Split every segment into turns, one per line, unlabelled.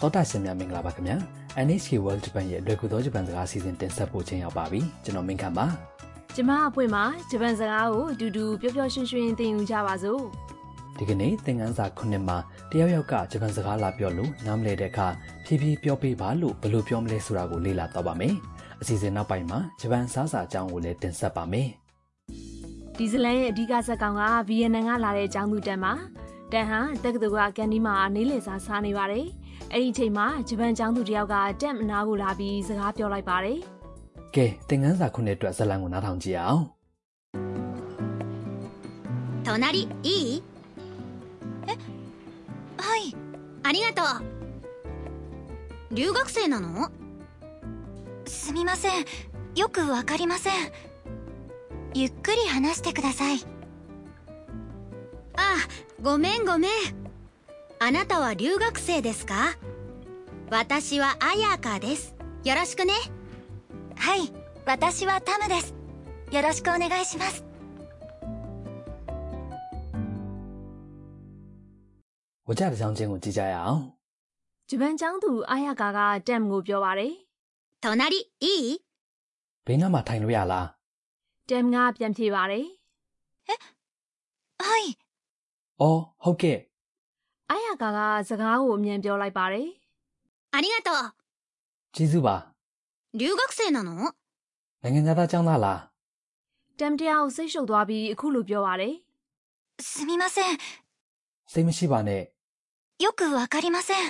တောတာရှင်များမင်္ဂလာပါခင်ဗျာ NHK World Japan ရဲ့လွယ်ကူသောဂျပန်စကားအစီအစဉ်တင်ဆက်ဖို့ခြင်းရောက်ပါပြီကျွန်တော်မင်းခမ်းပါ
ကျမအဖွင့်မှာဂျပန်စကားကိုအတူတူပျော်ပျော်ရွှင်ရွှင်သင်ယူကြပါစို့
ဒီကနေ့သင်ခန်းစာခုနှစ်မှာတယောက်ယောက်ကဂျပန်စကားလာပြောလို့နားမလည်တဲ့အခါဖြည်းဖြည်းပြောပေးပါလို့ဘယ်လိုပြောမလဲဆိုတာကိုလေ့လာတော့ပါမယ်အစီအစဉ်နောက်ပိုင်းမှာဂျပန်စားစာအကြောင်းကိုလည်းတင်ဆက်ပါမယ်
ဒီဇလန်ရဲ့အဓိကဇာတ်ကောင်ကဗီယက်နမ်ကလာတဲ့အကြောင်းသူတန်ပါတန်ဟာတက္ကသိုလ်ကကန်ဒီမှာနေလေစားစားနေပါတယ်အဲ့ဒီအချိန်မှာဂျပန်ကျောင်းသူတစ်ယောက်ကတက်မနာကိုလာပြီးစကားပြောလိုက်ပါတယ်
ကဲသင်ခန်းစာခုနှစ်အတွက်ဇာတ်လမ်းကိုနားထောင်ကြည့်အောင်
隣いいえはいありがとう留学生なのすみませんよくわかりませんゆっくり話してくださいあごめんごめんあなたは留学生ですか私はアヤーカーですよろしくねはい私はタムですよろしくお願いします
ဝကြတစ်ကြောင်းချင်းကိုကြည့်ကြရအောင်
ဂျပန်ကျောင်းသူအာယာကာကတမ်ကိုပြောပါတယ်
隣いい
ဘေးနားမှာထိုင်လို့ရလား
တမ်ကပြန်ဖြေပါတယ်
はい
အော်ဟုတ်ကဲ့
အာယာကာကစကားကိုအမြန်ပြောလိုက်ပါတယ်
ありがとう
ကျေးဇူးပါ
留学生なの
နိုင်ငံသားကျောင်းသားလား
တမ်တရားကိုစိတ်ရှုပ်သွားပြီးအခုလိုပြောပါတယ်
すみません。
စိတ်မရှိပါနဲ့
よくわかりません。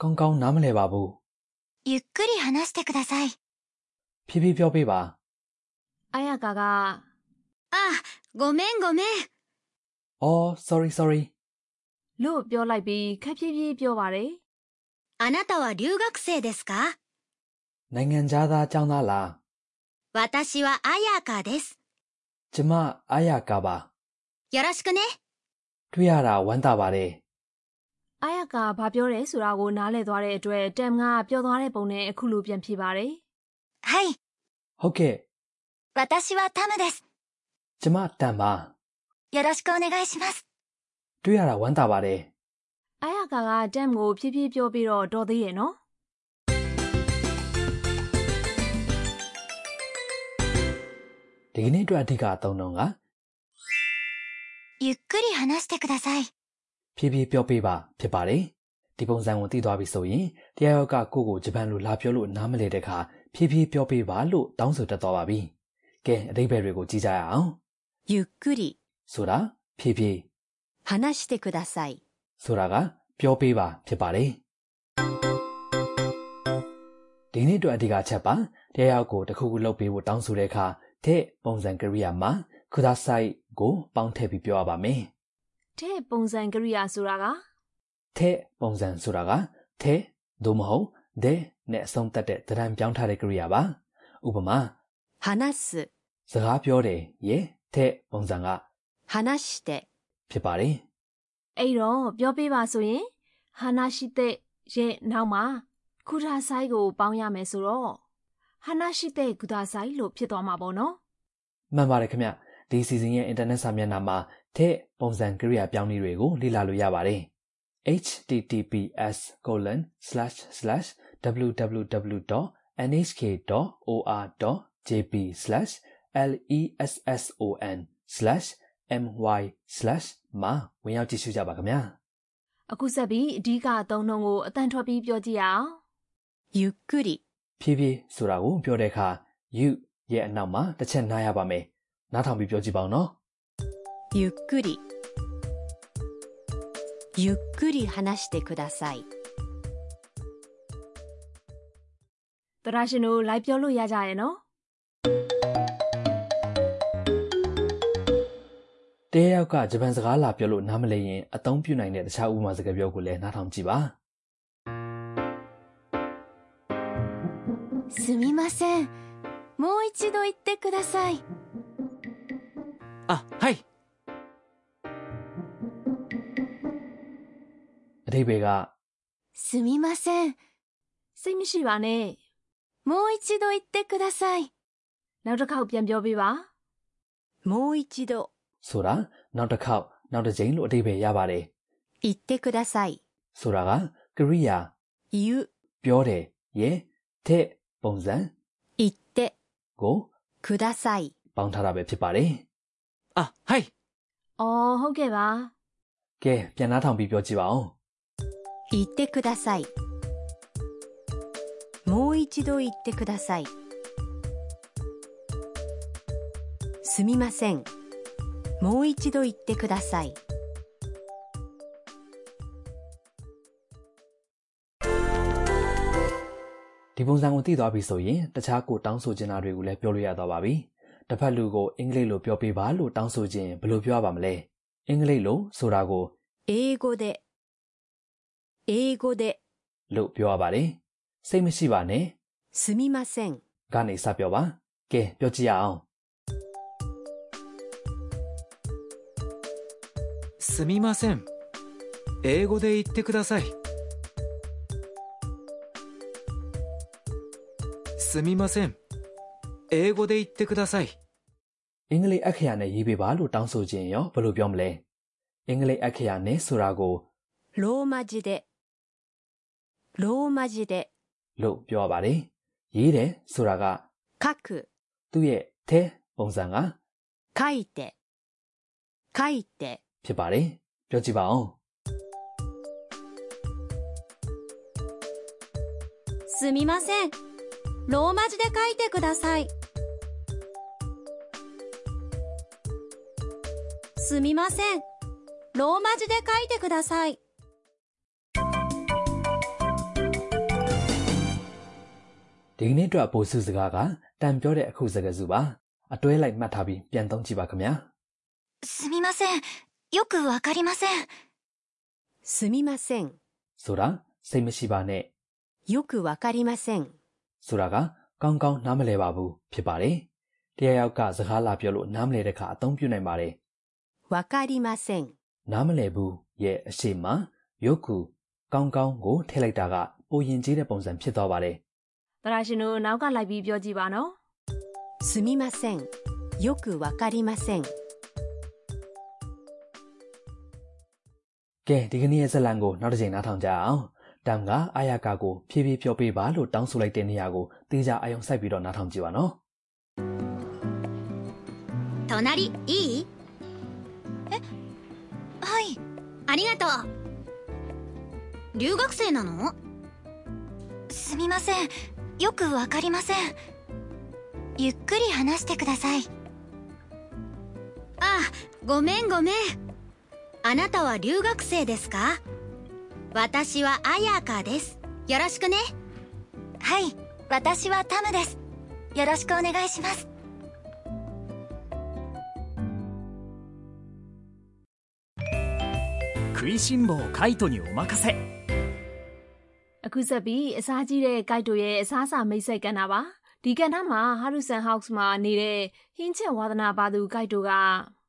ကောင်းကောင်းနားမလည်ပါဘူး
ゆっくり話してください。
ဖြည်းဖြည်းပြောပေးပါ
အာယာကာက
ああ、ごめんごめ
။
ん。
အော် sorry sorry
လို့ပြောလိုက်ပြီးခက်ဖြည်းဖြည်းပြောပါတယ်
あなたは留学生ですか
နိုင်ငံသားသားចောင်းသားလား
私はアヤーカーです。
။ကျမအာရကာပါ
よろしくね。
။တွေ့ရတာဝမ်းသာပါတယ်
အာယကဘာပြောတယ်ဆိုတာကိုနားလည်သွားတဲ့အတွက်တမ်ကပျော်သွားတဲ့ပုံနဲ့အခုလိုပြန်ဖြေပါတယ်
はい。
။ဟုတ်ကဲ့
私はタムです。
ကျမတန်ပါ
よろしくお願いします。
။တွေ့ရတာဝမ်းသာပါတယ်
။အာယကကတမ်ကိုဖြည်းဖြည်းပြောပြီးတော့တော်သေးရဲ့နော်
။ဒီကနေ့အတွက်အဓိကအသုံးတော်က
ゆっくり話してください。
ဖြည်းဖြည်းပြောပေးပါဖြစ်ပါတယ်။ဒီပုံစံကိုသိသွားပြီဆိုရင်တရားရောက်ကကိုယ့်ကိုဂျပန်လိုလာပြောလို့နားမလည်တဲ့အခါဖြည်းဖြည်းပြောပေးပါလို့တောင်းဆိုတတ်သွားပါပြီ။ကဲအတိတ်ဘယ်တွေကိုကြည့်ကြရအောင်
ゆっくり
။ဆိုတာဖြည်းဖြည်း
話してください。
ဆိုတာကပြောပေးပါဖြစ်ပါတယ်ဒီနေ့အတွက်အဓိကအချက်ပါတရားရောက်ကိုတစ်ခုခုလုပ်ပေးဖို့တောင်းဆိုတဲ့အခါတဲ့ပုံစံကရိယာမှာ kudasai ကိုပေါင်းထည့်ပြီးပြောရပါမယ်
။တဲ့ပုံစံကရိယာဆိုတာက
တဲ့ပုံစံဆိုတာကတဲ့သို့မဟုတ်တဲ့နဲ့အဆုံးသတ်တဲ့သဏ္ဍာန်ပြောင်းထားတဲ့ကရိယာပါဥပမာ
話す、
စကားပြောတယ်ရဲ့တဲ့ပုံစံက
話して、
ဖြစ်ပါတယ်
အဲ့တော့ပြောပေးပါဆိုရင်ဟာနာရှိတဲ့ရဲ့နောက်မှာကုဒါဆိုင်ကိုပေါင်းရမယ်ဆိုတော့ဟာနာရှိတဲ့ကုဒါဆိုင်လို့ဖြစ်သွားမှာပေါ့နော်
မှန်ပါတယ်ခင်ဗျဒီစီစဉ်ရဲ့ internet စာမျက်နှာမှာတဲ့ပုံစံကရိယာပြောင်းနည်းတွေကိုလေ့လာလို့ရပါတယ် https://www.nhk.or.jp/lesson/my/ မှာဝင်ရောက်ကြည့်ရှုကြပါခင်ဗျာ
။အခုဆက်ပြီးအဓိကအသုံးနှုန်းကိုအတန်ထွက်ပြီးပြောကြည့်ရအောင်
ゆっくり、
ဖြည်းဖြည်းဆိုတာကိုပြောတဲ့အခါ you ရဲ့အနောက်မှာတစ်ချက်နားရပါမယ်နားထောင်ပြီးပြောကြည့်ပါဦးနော်
ゆっくり。ゆっくり話してください。
။သရရှင်တို့လိုက်ပြောလို့ရကြရဲ့နော်။
တဲရောက်ကဂျပန်စကားလာပြောလို့နားမလည်ရင်အသုံးပြုနိုင်တဲ့တခြားဥပမာစကားပြောကိုလည်းနားထောင်ကြည့်ပါ
すみません。もう一度言ってください。
အာဟိုင်အတိဘေက
すみません。
စိတ်မရှိပါနဲ့
もう一度言ってください。
နောက်တစ်ခေါက်ပြန်ပြောပေးပါ
もう一度
ဆိုတာနောက်တစ်ခေါက်နောက်တစ်ကြိမ်လို့အဓိပ္ပာယ်ရပါတယ်
言ってください。
ဆိုတာကကရိယာ
言う、
ပြောတယ်ရဲ့တဲ့ပုံစံ
言って、
ကို
ください。
ပေါင်းထားတာပဲဖြစ်ပါတယ်
あ、はい。
အော်ဟုတ်ကဲ့ပါ
ကဲပြန်နှားထောင်ပြီးပြောကြည့်ပါဦး
言ってください。もう一度言ってください。すみません。もう一度言ってください。
ဒီပုံစံကိုသိသွားပြီဆိုရင်တခြားကိုတောင်းဆိုချင်တာတွေကိုလည်းပြောလို့ရသွားပါပြီတစ်ဖက်လူကိုအင်္ဂလိပ်လိုပြောပေးပါလို့တောင်းဆိုခြင်းဘယ်လိုပြောရပါမလဲအင်္ဂလိပ်လိုဆိုတာကို
英語で、英語で、
လို့ပြောရပါတယ်စိတ်မရှိပါနဲ့
すみません。
ကနေစပြောပါကဲပြောကြည့်ရအောင်
すみません。英語で言ってください。すみません。英語で言ってください。
အင်္ဂလိပ်အက္ခရာနဲ့ရေးပေးပါလို့တောင်းဆိုခြင်းရောဘယ်လိုပြောမလဲအင်္ဂလိပ်အက္ခရာနဲ့ဆိုတာကို
ローマ字で、ローマ字で、
လို့ပြောရပါတယ်ရေးတယ်ဆိုတာက
書く、
သူ့ရဲ့ထဲပုံစံက
書いて、書いて、
ဖြစ်ပါတယ်ပြောကြည့်ပါဦး
すみません。ローマ字で書いてください。すみません。ローマ字で書いてください。
ဒီကနေ့အတွက်ပိုစုစကားကတန်ပြောတဲ့အခုစကားစုပါအတွဲလိုက်မှတ်ထားပြီးပြန်သုံးကြည့်ပါခင်ဗျာ
すみません。よくわかりません。
すみません。
ဆိုတာစိတ်မရှိပါနဲ့
よくわかりません。
ဆိုတာကကောင်းကောင်းနားမလည်ပါဘူးဖြစ်ပါတယ်တရားရောက်ကစကားလာပြောလို့နားမလည်တဲ့ခါအသုံးပြုနိုင်ပါတယ်
わかりません。
နားမလည်ဘူးရဲ့အရှိမယုတ်ကူကောင်းကောင်းကိုထည့်လိုက်တာကပိုရင်ကျေးတဲ့ပုံစံဖြစ်သွားပါတယ်
သရရှင်တို့နောက်ကလိုက်ပြီးပြောကြည့်ပါနော်
すみません。よくわかりません。
ကဲဒီကနေ့ရဲ့ဇတ်လံကိုနောက်တစ်ချိန်နားထောင်ကြအောင်တမ်ကအာယာကာကိုဖြည်းဖြည်းပြောပေးပါလို့တောင်းဆိုလိုက်တဲ့နေရာကိုတေးကြအယုံစိုက်ပြီးတော့နားထောင်ကြည့်ပါနော်
隣、いいえ、はい。ありがとう。留学生なのすみません。よくわかりません。ゆっくり話してください。あ、ごめんごめん。あなたは留学生ですか私はアヤーカーです。よろしくね。はい。私はタムです。よろしくお願いします。
食いしん坊カイトにお任せ。
အခုဆက်ပြီးအစားကြီးတဲ့ကိုက်တို့ရဲ့အစားအစာမိတ်ဆက်ကဏ္ဍပါဒီကဏ္ဍမှာဟာရူဆန်ဟောက်စ်မှာနေတဲ့ဟင်းချက်ဝါသနာပါသူကိုက်တို့က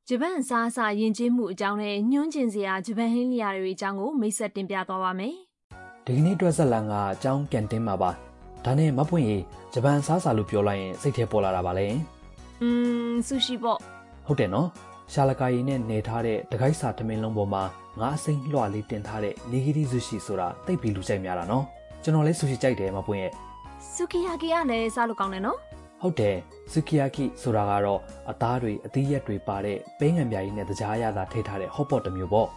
ဂျပန်အစားအစာယဉ်ကျေးမှုအကြောင်းနဲ့ညွှန်းကျင်စရာဂျပန်ဟင်းလျာတွေအကြောင်းကိုမိတ်ဆက်တင်ပြသွားပါမယ်
ဒီကနေ့အတွက်ဆက်လံကအကြောင်းကန်တင်းမှာပါဒါနဲ့မပွင့်ရင်ဂျပန်စားစာလို့ပြောလိုက်ရင်စိတ်ထဲပေါ်လာတာပါလေ
อืมซูชิပေါ့
ဟုတ်တယ်နော်ရှာလကာရီနဲ့နေထားတဲ့တကိုက်စာထမင်းလုံးပေါ်မှာငါးအစိမ့်လွှလေးတင်ထားတဲ့နီဂီရီဆူရှီဆိုတာတိတ်ပြီးလူကြိုက်များတာနော်ကျွန်တော်လည်းဆူရှီကြိုက်တယ်မပွင့်ရဲ့
ဆူကီယာကီကလည်းစားလို့ကောင်းတယ်နော်
ဟုတ်တယ်ဆူကီယာကိဆိုတာကတော့အသားတွေအသီးရက်တွေပါတဲ့ပဲငံပြာကြီးနဲ့တကြားရတာထည့်ထားတဲ့ဟော့ပေါ့တစ်မျိုးပေါ့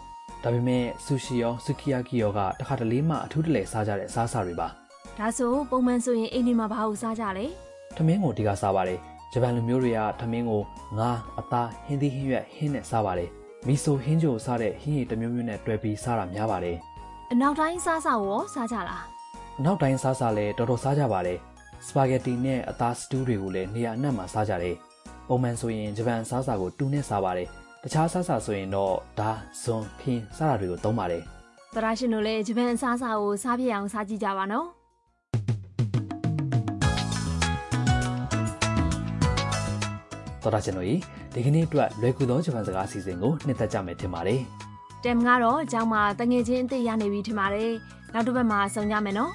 ဒါပေမဲ့ဆူရှီရောဆူကီယာကိရောကတစ်ခါတလေမှအထူးတလဲစားကြတဲ့အစားအစာတွေပါ
ဒါဆိုပုံမှန်ဆိုရင်အိမ်ဒီမှာဘာလို့စားကြလဲ
ထမင်းကိုအဓိကစားပါတယ်ဂျပန်လူမျိုးတွေကထမင်းကိုငါးအသားဟင်းသီးဟင်းရွက်ဟင်းနဲ့စားပါတယ်မီဆိုဟင်းချိုစားတဲ့ဟင်းရည်တစ်မျိုးမျိုးနဲ့တွဲပြီးစားတာများပါတယ်
အနောက်တိုင်းစားစာရောစားကြလား
အနောက်တိုင်းစားစားလည်းတော်တော်စားကြပါတယ်စပါဂက်တီနဲ့အသားစတူးတွေကိုလည်းနေရာအနှံ့မှာစားကြတယ်ပုံမှန်ဆိုရင်ဂျပန်စားစာကိုတူနဲ့စားပါတယ်တခြားစားစာဆိုရင်တော့ဒါဇွန်ဖင်းစားတာတွေကိုသုံးပါတယ်
သရရှင်တို့လည်းဂျပန်အစားအစာကိုစားပြစ်အောင်စားကြည့်ကြပါနော်
တော်တာကျွန်တော်ဤဒီကနေ့အတွက်လွယ်ကူသောဂျပန်စကားအစီအစဉ်ကိုနှစ်သက်ကြမယ်ထင်ပါတယ်
တမ်ကတော့အเจ้าမှာတငယ်ချင်းအစ်စ်ရနေပြီထင်ပါတယ်နောက်တစ်ပတ်မှာဆုံကြမယ်နော်